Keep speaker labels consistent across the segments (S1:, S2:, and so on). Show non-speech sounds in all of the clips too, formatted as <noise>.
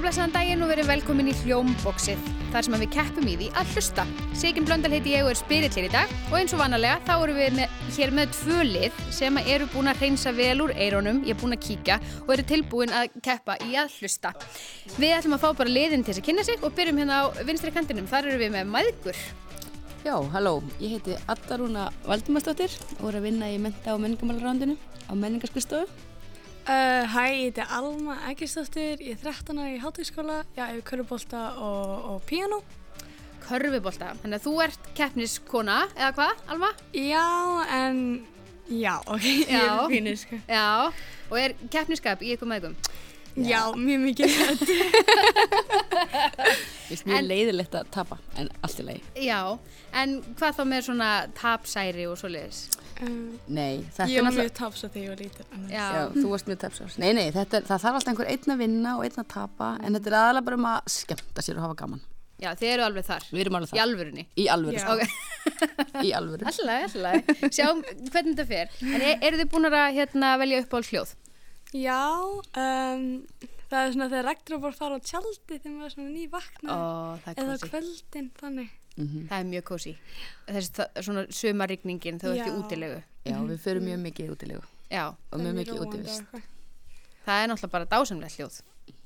S1: blessaðan daginn og verið velkomin í Hljómboxið, þar sem að við keppum í því að hlusta. Sigyn Blöndal heiti ég og er spyrill hér í dag og eins og vanalega þá erum við með, hér með tvö lið sem að eru búin að reynsa vel úr eironum, ég er búin að kíkja og eru tilbúin að keppa í að hlusta. Við ætlum að fá bara liðin til þess að kynna sig og byrjum hérna á vinstri kantinum, þar eru við með maðgur.
S2: Já, halló, ég heiti Addarúna Valdimarsdóttir og er að vinna í menta- og menningamálarrándinu á menningarskustofu.
S3: Uh, hæ, ég heiti Alma Eggersdóttir, ég er 13 ára í hátíðskóla, já, ég er körubólta og, og píanó.
S1: Körfubolta, þannig að þú ert keppniskona, eða hvað, Alma?
S3: Já, en, já, ok, ég er
S1: Já.
S3: pínu, sko.
S1: Já, og er keppniskap í ykkur maðgum?
S3: Já, mjög <laughs> mikið.
S2: Vist mjög
S1: En-
S2: leiðilegt að tapa, en allt í lagi.
S1: Já, en hvað þá með svona tapsæri og svoleiðis?
S3: Um,
S2: Nei, þetta
S3: ég
S2: er
S3: var
S2: náttúrulega...
S3: mjög tapsa þegar ég var lítil. en-
S1: Já,
S2: Já, þú varst mjög tepsar. Nei, nei, þetta, er- það þarf alltaf einhver einn að vinna og einn að tapa, en þetta er aðalega bara um að skemmta sér og hafa gaman.
S1: já, þið eru alveg þar.
S2: Við erum alveg
S1: Í
S2: það.
S1: alvörunni.
S2: Í alvöru,
S3: Já.
S2: sko.
S1: Ok, <laughs>
S2: Í alvöru.
S1: alltaf, alltaf. Sjáum hvernig þetta fer. En er, eru þið búin að hérna, velja upp á hljóð?
S3: Já, um, það er svona þegar regndrópar fara á tjaldi þegar maður er svona nývakna.
S1: Ó, það er Mhm.
S3: Eða á
S1: kósi.
S3: kvöldin, þannig.
S1: Það er mjög kósi. Þessi það, svona sumarrigningin, þau ert í
S3: Já.
S1: útilegu.
S2: Já, við förum mjög mikið í útilegu
S1: Já,
S2: og mjög
S3: Þannig
S2: mikið
S3: róandi og
S2: útivist.
S3: eitthvað.
S1: það er náttúrulega bara dásamlegt hljóð.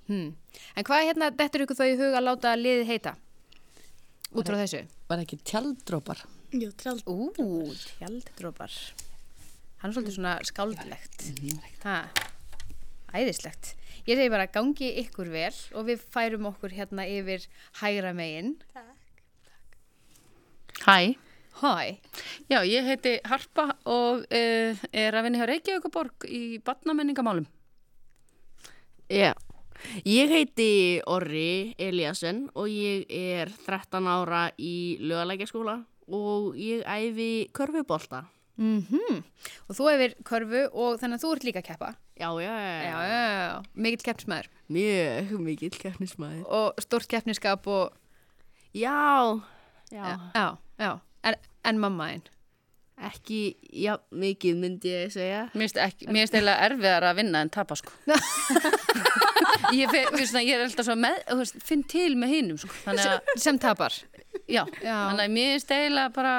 S1: Hmm. En hvað hérna, dettur ykkur þá í hug að láta liðið heita? Út frá þessu.
S2: Var ekki tjaldrópar?
S3: Jú, tjald.
S1: Ú, tjalddrópar. Hann er svolítið svona skáldlegt. Ha, æðislegt. Ég segi bara gangi ykkur vel og við færum okkur hérna yfir hægra megin.
S4: Hæ,
S1: Hæ,
S4: já ég heiti Harpa og uh, er að vinna hjá Reykjavíkuborg í badnamenningamálum.
S5: Já, ég heiti Orri Eliasson og ég er 13 ára í lögalækjaskóla og ég æfi körfubolta.
S1: og þú hefur körfu og þannig að þú ert líka að keppa.
S5: Já, já,
S1: Já, já, já, já. mikill keppnismæður
S5: Mjög mikill keppnismæður.
S1: og stórt keppniskap og,
S5: Já, já,
S1: já, já, en, en mammaðin.
S5: ekki, já, mikið myndi ég segja.
S4: Mér finnst ekki- mér finnst eiginlega erfiðar að vinna en tapa sko. ég, fe, við svona, ég er alltaf svo með, þú veist, finn til með hinum sko. Þannig að,
S1: Sem tapar.
S4: já,
S1: Já.
S4: þannig að mér finnst eiginlega bara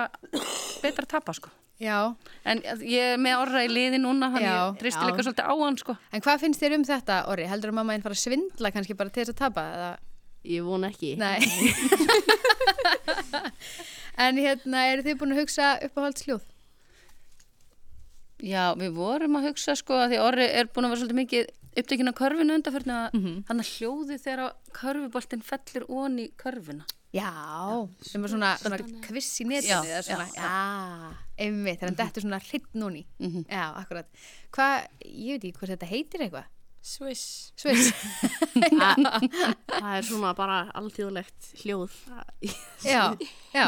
S4: betra að tapa sko.
S1: Já,
S4: En ég er með orra í liði núna, þannig
S1: Já.
S4: ég tristi líka svolítið á hann sko.
S1: en hvað finnst þér um þetta, Orri? Heldur að mammaðin fara að svindla kannski bara til þess að tapa eða...
S5: Ég von ekki.
S1: Nei <laughs> En hérna, eru þið búin að hugsa uppáhaldsljóð?
S4: Já, við vorum að hugsa sko að því orri er búin að vera svolítið mikið upptökin á körfinu undanförna mm -hmm. þannig að hljóði þegar að körfuboltin fellir ón í körfuna.
S1: Já Sem er svona, svona kviss í netinu
S4: Já,
S1: eða svona, já, Mhm. einmitt, þegar hann dettur svona hritt núni Já, akkurat Hvað, ég veit ekki hvort þetta heitir eitthvað
S3: Swiss.
S1: <laughs> Sviss
S5: Það er svona bara alþjóðlegt hljóð.
S1: Já, já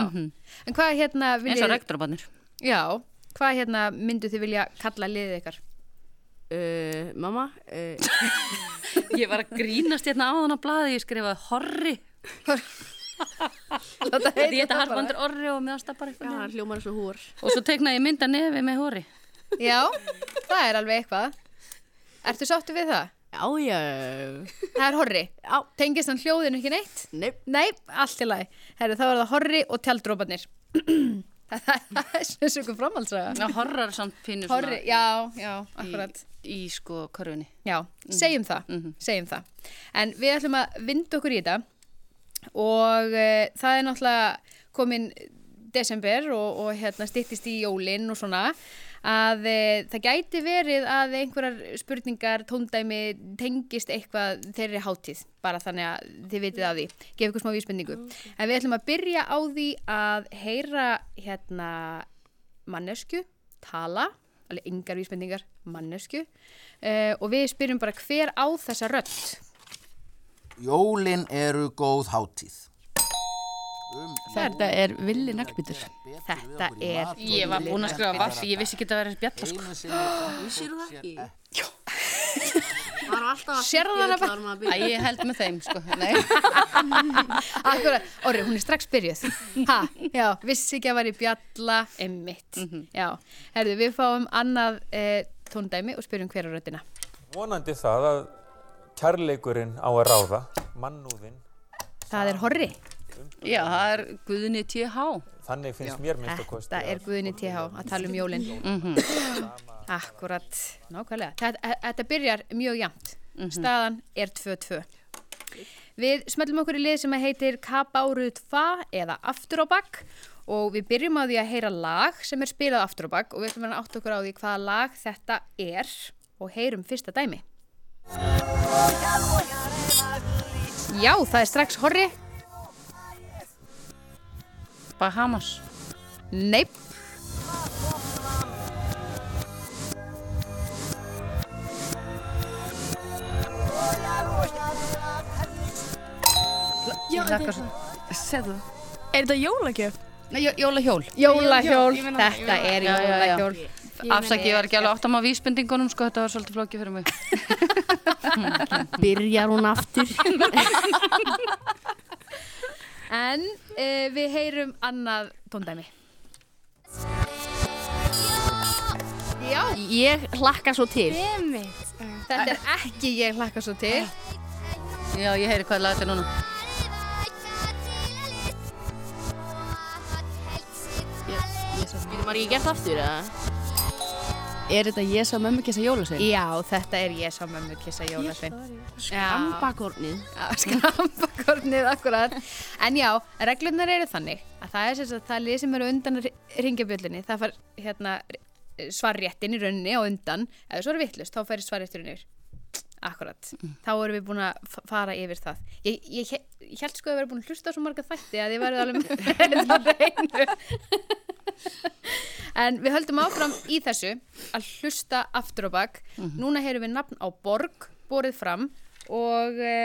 S1: En hvað hérna
S4: Eins
S1: viljið
S4: og rektorabannir.
S1: Já, hvað hérna myndu þið vilja kalla liðið ykkar?
S5: Uh, mamma, uh,
S4: <laughs> Ég var að grínast hérna á þannig að blaði, ég skrifaði horri.
S1: Láta
S4: Ég heita harfandur orri og meðan stappar eitthvað.
S5: já,
S4: niður.
S5: hljómar eins og húr.
S4: Og svo tegnaði ég mynda nefi með horri.
S1: Já, það er alveg eitthvað Ertu sáttu við það?
S5: Já, já,
S1: Það er horri
S5: já,
S1: Tengist hann hljóðinu ekki neitt?
S5: nefn.
S1: Nei, allt í lagi. Herru, þá er það horri og
S4: <laughs>
S1: tjaldrópanir. það það er svona sökum framhaldsaga.
S4: Já, horrar samt pínu svona
S1: Horri, já, já, akkurat.
S4: í, Mhm. í sko körfunni.
S1: Já, segjum það, segjum það. En við ætlum að vinda okkur í þetta og uh, það er náttúrulega komin desember og, og hérna styttist í jólinn og svona að e, það gæti verið að einhverjar spurningar, tóndæmi tengist eitthvað þeirri hátíð bara þannig að þið vitið af því gefa ykkur smá vísbendingu. En við ætlum að byrja á því að heyra hérna mannesku, tala, alveg yngar vísbendingar, mannesku uh, og við spyrjum bara hver á þessa rödd.
S6: Jólin eru góð hátíð.
S2: Þetta er villi naglbítur.
S1: Þetta er,
S4: Ég var búin að skrifa vaffi, ég vissi ekki að það verið bjalla sko. <gasps>
S6: Einu sinni
S5: Vissir það ekki? Já. Var alltaf að
S1: Sérðu hana bara-
S5: maður
S4: Æ, ég held með þeim sko. Nei.
S1: akkurat, orri, hún er strax byrjuð. Ha, já, vissi ekki að væri bjalla, emmitt. Já, herðu, við fáum annað uh, tóndæmi og spyrjum hver á röddina.
S7: Vonandi það að kærleikurinn á að ráða. mannúðin
S1: Það er horri.
S4: Já, það er Guðni TH.
S7: þannig finnst mér minnst og kosti
S1: Þetta er Guðni TH að tala um jólinn. Mm Akkurat, nákvæmlega. Þetta, þetta byrjar mjög jæmt. Staðan er 2-2. Við smellum okkur í lið sem að heitir Kabáruð 2 eða Aftur á bakk og við byrjum á því að heyra lag sem er spilað aftur á bakk og við ætlum að átta okkur á því hvaða lag þetta er og heyrum fyrsta dæmi. Já, það er strax horri.
S4: Bahamas.
S1: Nei,
S3: Já, en
S4: Þakka
S3: þetta-
S4: svo.
S5: Segðu
S3: er þetta jólagjöf?
S2: Nei, jó- jólahjól.
S1: jólahjól.
S3: Ég meina það,
S1: Þetta
S3: ég meina
S1: er
S4: það. Já, já, já.
S1: jólahjól.
S4: Afsaki, ég var ekki alveg áttam á vísbendingunum, sko, þetta var svolítið flókið fyrir mig.
S5: Byrjar hún
S1: <laughs>
S5: aftur
S1: En uh, við heyrum annað tóndæmi. Já,
S5: Ég hlakka svo til
S1: þetta er ekki ég hlakka svo til.
S4: Já, ég heyri hvað lag þetta er núna.
S5: Getur maður ekki gert aftur eða?
S2: Er þetta ég sá mömmu kessa jólasvein?
S1: Já, þetta er ég sá mömmu kissa jólasvein.
S5: Skambakornið
S1: <laughs> Skambakornið akkurat. En já, reglurnar eru þannig að það er sem sagt það lið sem eru undan ringjabjöldinni. Það far hérna svarréttin í rauninni og undan. Ef svo er vittlust, þá færi svarréttin yfir. Akkurat. Þá erum við búin að f- fara yfir það. Ég, ég, he- ég held sko að ég verið búin að hlusta á svo marga þætti að ég verið alveg með <laughs> þetta reynu. En við höldum áfram í þessu að hlusta aftur á bak.
S2: Mhm.
S1: Núna heyrum við nafn á borg, borið fram og e,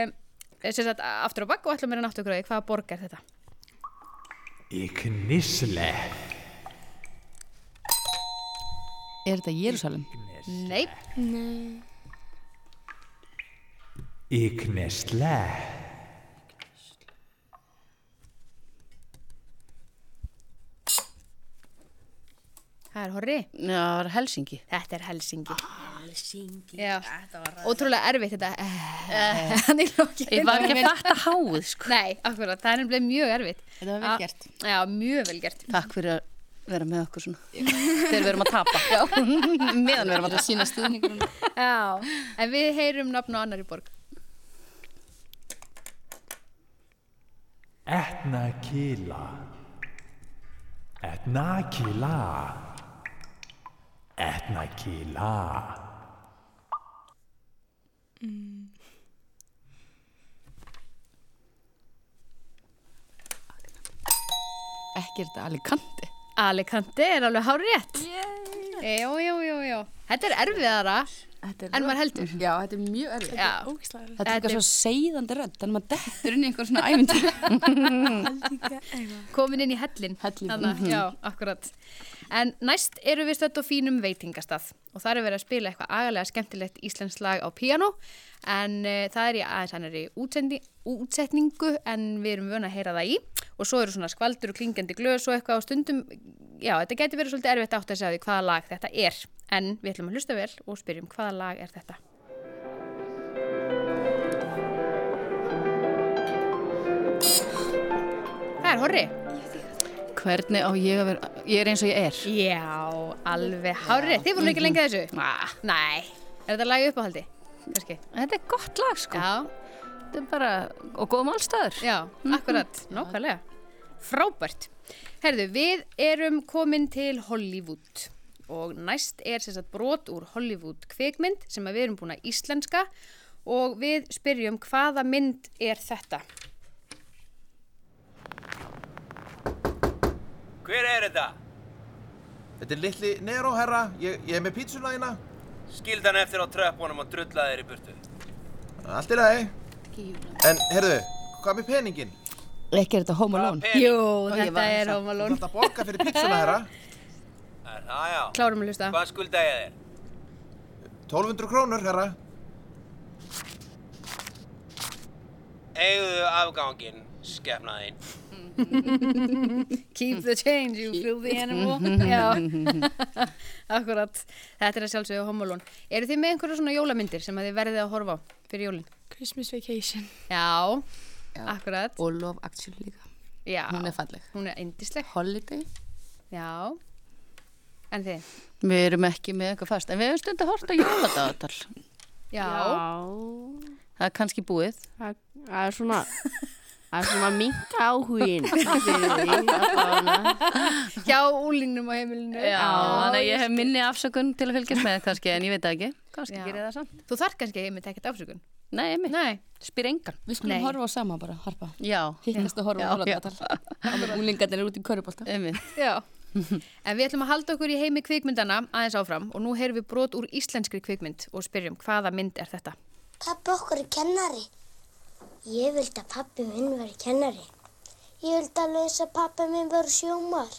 S1: sem sagt aftur á bak og ætlum við að náttu okkur á því hvaða borg er þetta.
S8: Ég nýsle.
S2: Er þetta Jérusalem?
S1: Nei,
S8: Ég nýsle.
S1: það er horri.
S4: Já, það var Helsingi.
S1: Þetta er Helsingi. Helsingi. Já, ótrúlega erfitt þetta. eh, <laughs> Þannig
S4: Ég
S1: lókin.
S4: var ekki að fatta háið, sko.
S1: Nei, akkurat, það er nefnilega mjög erfitt.
S2: Þetta var vel
S1: Ah,
S2: gert.
S1: Já, mjög vel gert.
S4: Takk fyrir að vera með okkur svona. Þegar við erum að tapa. Já. Meðan við erum að tapa.
S2: Sýna stuðningur.
S1: Já, en við heyrum nafn á annari borg.
S8: Etna kila. Etna kila. Etna kila.
S2: Ekki er þetta Alicante.
S1: Alicante er alveg hár rétt.
S2: Eh,
S1: Jó, jó, jó, jó. Þetta er erfiðara en maður heldur.
S2: Já, þetta er mjög erfið.
S1: Já,
S2: Þetta
S3: Ógislega
S2: er
S1: Þetta
S2: eitthvað
S1: er-
S2: svo seiðandi rödd, þannig að maður dettur inn í einhver svona ævintýr.
S1: komin inn í hellin.
S2: Hellinn.
S1: Þarna, Já, akkurat. En næst eru við stödd á fínum veitingastað og þar er verið að spila eitthvað agalega skemmtilegt íslensk lag á piano en uh, það er í aðeins annari útsendi, útsetningu en við erum vöna að heyra það í og svo eru svona skvaldur og klingjandi glös og eitthvað á stundum já, þetta getur verið svolítið erfitt átt að segja því hvaða lag þetta er en við ætlum að hlusta vel og spyrjum hvaða lag er þetta. Það er horri.
S4: Hvernig á ég að vera, ég er eins og ég er.
S1: Já, alveg hárið. Þið voru ekki lengið að þessu? Ah. Nei. Er þetta lagi uppáhaldi? Kanski.
S4: Þetta er gott lag, sko.
S1: Já, Mhm.
S4: Þetta er bara, og góð málstæður.
S1: já, akkurat. Nákvæmlega. Frábært. Herðu, við erum komin til Hollywood og næst er sem sagt brot úr Hollywood kvikmynd sem að við erum búin að íslenska og við spyrjum hvaða mynd er þetta?
S9: Hver er þetta?
S6: Þetta er litli Nero, herra. Ég, ég er með pítsuna þína.
S9: Skildan eftir á tröppunum og drullaði þér í burtu.
S6: Allt í lagi. En, herðu, hvað með peningin?
S2: Ekki er þetta Home Alone.
S9: Pening.
S1: Jú, þetta er
S6: Þú
S1: ómalón.
S6: þarft að borga fyrir pítsuna, herra.
S9: Er það já?
S1: Klárum að hlusta.
S9: Hvað skulda ég þér?
S6: 1200 krónur, herra.
S9: Eigðu afganginn, skefna þín.
S1: Keep the change, you filthy
S2: <laughs>
S1: animal. Já, akkurat. Þetta er að sjálfsögðu homolón. Eru þið með einhverju svona jólamyndir sem að þið verðið að horfa á fyrir jólinn?
S3: Christmas Vacation.
S1: Já,
S2: Já.
S1: akkurat.
S2: Og Love Actually líka.
S1: Já.
S2: Hún er falleg.
S1: Hún er yndisleg.
S2: Holiday.
S1: Já. En þið?
S4: Við erum ekki með eitthvað fast, en við hefum stundið að horta jóladagatal.
S1: Já.
S5: Já.
S4: Það er kannski búið.
S5: Það það er svona... Það er svona minka áhugin. Það
S1: Hjá úlinnum á heimilinu.
S4: Já, þannig að ég hef minni afsökun til að fylgjast með kannski, en ég veit það ekki. Kannski
S1: Já.
S4: gerir það samt.
S1: Þú þarf kannski að heimilt ekkert afsökun.
S4: Nei, emi.
S1: Nei.
S4: Spyr engan.
S2: Við skulum
S1: Nei.
S2: horfa á sama bara, harpa.
S4: Já,
S2: Hittast og horfa á
S4: Já, já.
S2: holidatal. Það með úlingarnir út í körubólta.
S4: emi.
S1: Já. <laughs> En við ætlum að halda okkur í heimi kvikmyndana aðeins áfram og nú heyrum við brot úr íslenskri kvikmynd og spyrjum hvaða mynd er þetta?
S10: Pappi okkur er kennari. Ég vildi að pappi minn veri kennari. Ég vildi alveg eins að pappi minn veri sjómar.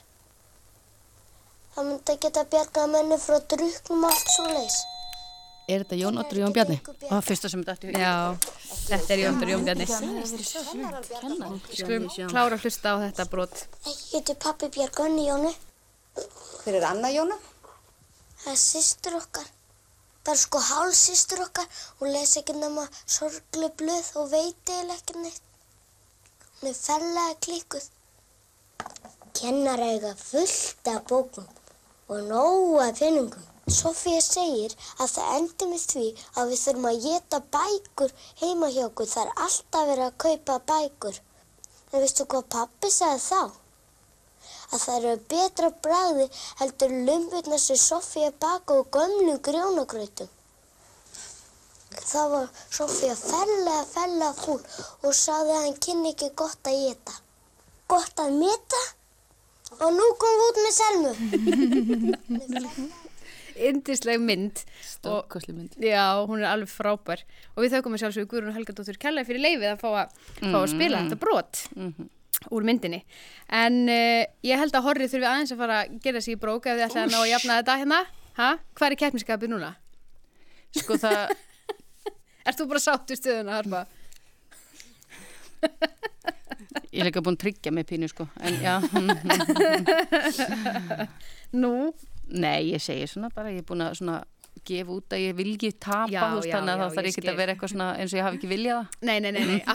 S10: Það myndi að geta bjargað menni frá druknum og allt svo leis.
S2: Er þetta Jón Otur og Jón Bjarni?
S4: Og fyrsta sem þetta eftir.
S1: Já, þetta er Jóndur Jónbjarni. Skulum klára að hlusta á þetta brot.
S10: Ekki getur pappi bjargað henni Jónu.
S11: Hver er Anna Jóna?
S10: Það er systur okkar. Það er sko hálsystur okkar. Hún les ekki nema sorglu blöð og veit eða ekki neitt. Hún er ferlega klíkuð. Kennar eiga fullt af bókum og nóga peningum. Sofía segir að það endi með því að við þurfum að geta bækur heima hjá okkur. Það er alltaf verið að kaupa bækur. En veistu hvað pappi sagði þá? að það eru betra bragði heldur lumbutna sem Sofía baka og gömlu grjónagrautum. Það var Sofía ferlega, ferlega fúl og sagði að hann kynni ekki gott að geta. Gott að meta? Og nú kom við út með Selmu.
S1: Indisleg mynd. Og,
S2: Stórkosli mynd.
S1: já, hún er alveg frábær. Og við þaukum að sjálfsögur Guðrún Helgadóttur Kella fyrir leifið að fá að, fá að spila þetta brot úr myndinni. En uh, ég held að horrið þurfi aðeins að fara að gera sig í brók ef þið ætlaði að ná að jafna þetta hérna. Ha? Hvað er keppniskapið núna?
S4: Sko það,
S1: Ert þú bara sátt í stöðuna, Harpa?
S4: ég er líka búin að tryggja mig pínu, sko. En já, mm,
S1: Nú?
S4: nei, ég segi svona bara, ég er búin að svona gefa út að ég vilji tapa,
S1: Já,
S4: þú veist,
S1: já,
S4: þannig að
S1: já,
S4: það þarf
S1: ég
S4: ekki að
S1: skil.
S4: vera eitthvað svona eins og ég hafi ekki viljað það.
S1: Nei, nei, nei, nei, ak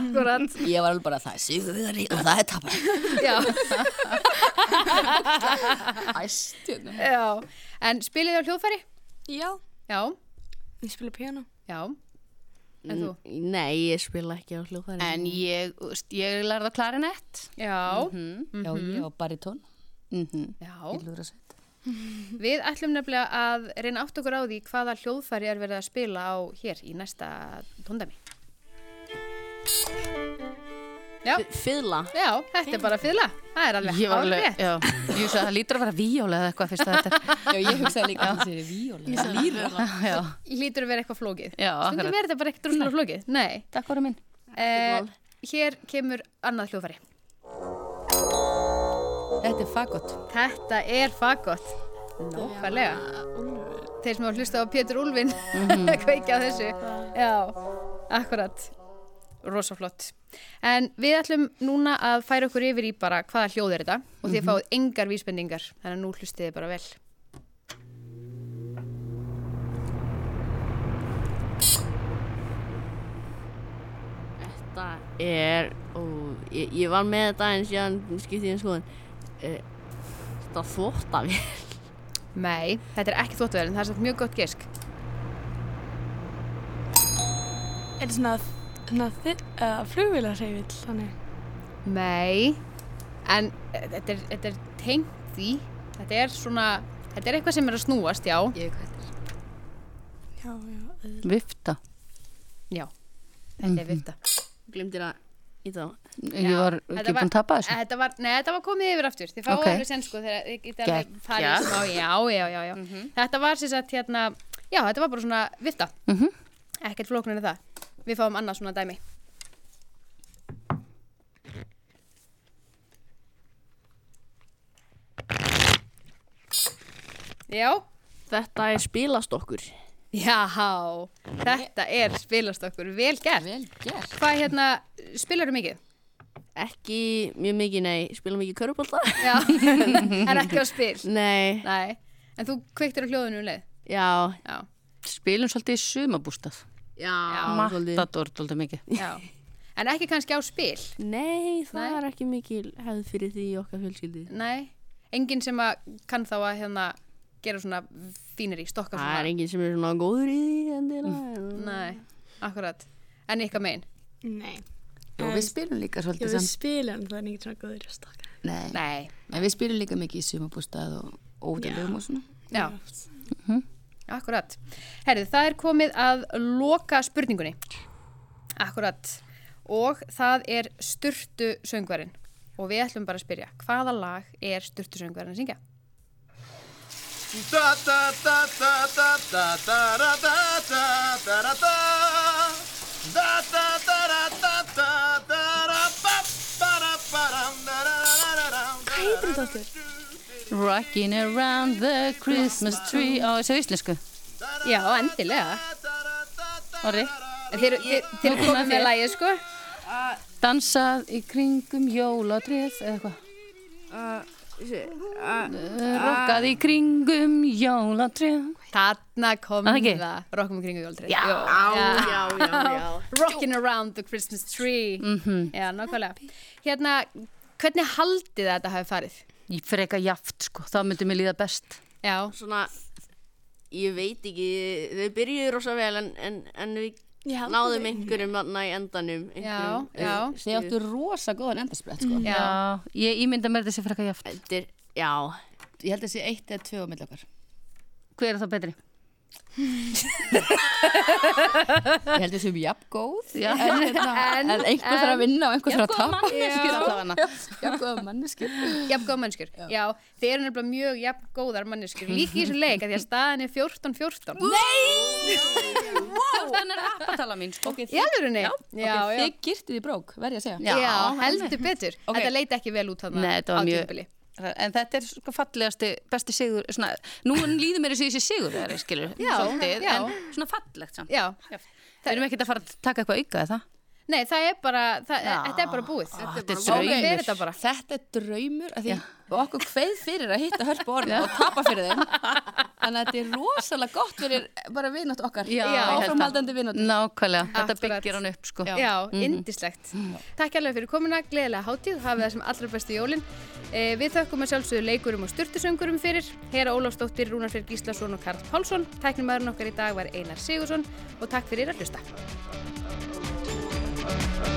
S1: akkurat.
S2: Ég var alveg bara það er sigurvegari og það er tapar.
S1: Já,
S2: Æst, hérna.
S1: já. En spilið þið á hljóðfæri?
S3: Já.
S1: Já,
S3: Ég spila piano.
S1: já. En þú?
S4: Mm,
S5: Nei, ég spila ekki á hljóðfæri.
S4: En ég, þú veist, ég lærði á klarinett.
S1: Já,
S4: Mhm.
S2: Já, ég á baritón.
S1: já.
S2: Ég lúður að segja.
S1: Við ætlum nefnilega að reyna átt okkur á því hvaða hljóðfæri er verið að spila á hér í næsta tóndami. Já,
S5: Fiðla.
S1: já, þetta er bara fyrla. Það er alveg
S4: Ég var alveg,
S1: hárrétt.
S4: já, ég hugsa að það lítur að vera víóla eða eitthvað fyrst að
S5: <laughs>
S4: þetta,
S2: Já, ég hugsaði líka að það sé víóla.
S5: Lýra.
S4: já,
S1: Lítur að vera eitthvað flókið.
S4: já,
S1: Stundum
S4: akkurat.
S1: verður þetta bara ekkert rúslega flókið. Nei.
S4: Takk voru minn.
S1: Eh, hér kemur annað hljóðfæri.
S2: Þetta er fagott.
S1: Þetta er faggott. Nákvæmlega. Þeir sem hafa hlustað á Pétur Úlfin <laughs> kveikja á þessu. Já, akkurat. Rosa flott. En við ætlum núna að færa okkur yfir í bara hvaða hljóð er þetta og þið fáið engar vísbendingar, þannig að nú hlustið þið bara vel.
S5: Þetta er, og ég, ég var með þetta en síðan skipti ég um skoðun. Eh, Þetta þvótt af ég.
S1: Nei, þetta er ekki þóttuverðin, það er satt mjög gott gesk.
S3: Er þetta svona, svona þi- uh, flugvélarreifill, þannig.
S1: Nei, en eh, þetta er, þetta er tengt því, þetta er svona, þetta er eitthvað sem er að snúast, já.
S2: Ég veit hvað þetta er.
S3: Já, já, auðvitað.
S4: Vifta.
S1: Já, þetta er vifta.
S5: Glimtir að í þá.
S4: Ég var
S1: þetta
S4: ekki
S1: var-
S4: búin að tapa þessu.
S1: Þetta var, nei, þetta var komið yfir aftur. Þið fáið
S4: Ok.
S1: alveg sen sko þegar þið getið alveg farið
S4: Geggjað.
S1: sem á, já, já, já, já. Þetta var sem sagt hérna, já, þetta var bara svona vifta.
S4: Mhm.
S1: Ekkert flóknir en það. Við fáum annað svona dæmi. Já,
S5: Þetta er spilast okkur.
S1: já, þetta er spilast okkur, vel gert.
S2: Vel gert.
S1: Hvað hérna, spilarum mikið?
S5: Ekki mjög mikið, nei, spila mikið körubólta.
S1: Já, <laughs> en ekki á spil.
S5: <laughs> Nei,
S1: Nei, en þú kveiktir á hljóðinu um leið.
S5: já,
S1: Já,
S4: Spilum svolítið í sumabústað.
S2: Ah.
S5: Já,
S4: Matador, doldið mikið.
S1: Já. En ekki kannski á spil?
S5: Nei, það er ekki mikil hefð fyrir því í okkar fjölskyldi.
S1: Nei, enginn sem að kann þá að hérna gera svona fínir í stokka
S5: Það er
S1: svona.
S5: enginn sem er svona góður í því
S4: <laughs>
S5: endilega.
S1: Nei, akkurat. En ykkar megin?
S3: Nei.
S2: Jú, við spilum líka svolítið
S3: Já, við
S2: samt.
S3: spilum, en það er ekkert svona góður að stakka.
S2: Nei. Nei. við spilum líka mikið í sumabústað og ódalugum og svona.
S1: Já. Mhm. Akkurat. Herðu, það er komið að loka spurningunni. Akkurat. Og það er styrtu söngvarinn. Og við ætlum bara að spyrja, hvaða lag er styrtu söngvarinn að syngja?
S6: Da da da da da da da da da da da da da Da da da da da da da da ba ba da ba dam da da da da da Hvað heitir
S3: þetta aftur?
S4: Rockin' around the Christmas tree Á þessu íslensku
S1: Já, endilega
S4: Orri
S1: Þeir, þeir, þeir eru komið með lagið, sko
S4: Dansað í kringum jóladrið eða eitthvað
S5: Uh,
S4: Rokkað í kringum jóladrið
S1: Þarna kom
S4: það ekki?
S1: það Rokkum í kringu jóltrið
S4: Já.
S5: Já, já, já.
S1: <laughs> Rockin' around the Christmas tree
S4: Mhm.
S1: Já, nákvæmlega Hérna, hvernig haldið þið að þetta hafi farið?
S4: Ég freka jaft sko, það myndi mér líða best
S1: Já.
S5: Svona, ég veit ekki, þau byrjuðu rosa vel en, en, en við
S3: Já,
S5: náðum einhverjum þarna í endanum. einhverjum, eh,
S2: Þið
S5: stuð.
S2: áttu rosa góðan endasprett, sko.
S5: Já. Já,
S4: ég ímynda mér þessi freka jaft
S5: Þetta er, já
S2: Ég held að sé eitt eða tvö á milli <laughs> okkar.
S4: Hver er það betri?
S2: Ég held að sé um jafn góð.
S4: Já.
S2: En, hérna, en, en einhver þarf að vinna og einhver þarf að tapa.
S1: Jafngóða manneskjur Jafngóða manneskjur, já. Þeir eru nefnilega mjög jafngóðar
S4: <laughs>
S1: manneskjur Líka í þessu leik að því að staðan er 14-14 Nei!
S4: Þannig er appatala mín sko
S1: Í alvörunni?
S4: Já,
S1: Já,
S2: ok,
S1: já.
S2: Þið girtið í brók, verð ég að
S1: Já,
S2: segja.
S1: heldur betur
S4: Ok.
S1: Þetta leit ekki vel út þarna
S4: Nei, þetta
S1: á
S4: var mjög
S1: tímabili.
S4: En þetta er sko fallegasti, besti sigur svona, Nú líður mér þessi sigur það er skilur
S1: Já, já.
S4: En svona fallegt samt
S1: Já.
S4: Við erum ekkert að fara að taka eitthvað auka eða það
S1: Nei, það er bara, það, þetta er bara búið
S4: þetta er
S1: Svona
S4: draumur.
S1: fer þetta bara.
S2: Þetta er draumur að því okkur kveið fyrir að hitta hörp og orða og tapa fyrir þeim þannig að þetta er rosalega gott fyrir bara vinnat okkar
S4: ég held það.
S2: áframhaldandi vinnat
S4: Nákvæmlega, þetta byggir hann upp sko
S1: Já, indislegt. Takk hérlega fyrir komuna, gleðilega hátíð, hafið það sem allra bestu jólin. Eh, við þökkum að sjálfsögðu leikurum og styrtusöngurum fyrir, Hera Ólafsdóttir, Rúnar Fyrir Gíslason og Karl Pálsson. Tæknumæðurinn okkar í dag var Einar Sigursson og takk fyrir að hlusta.
S6: þetta?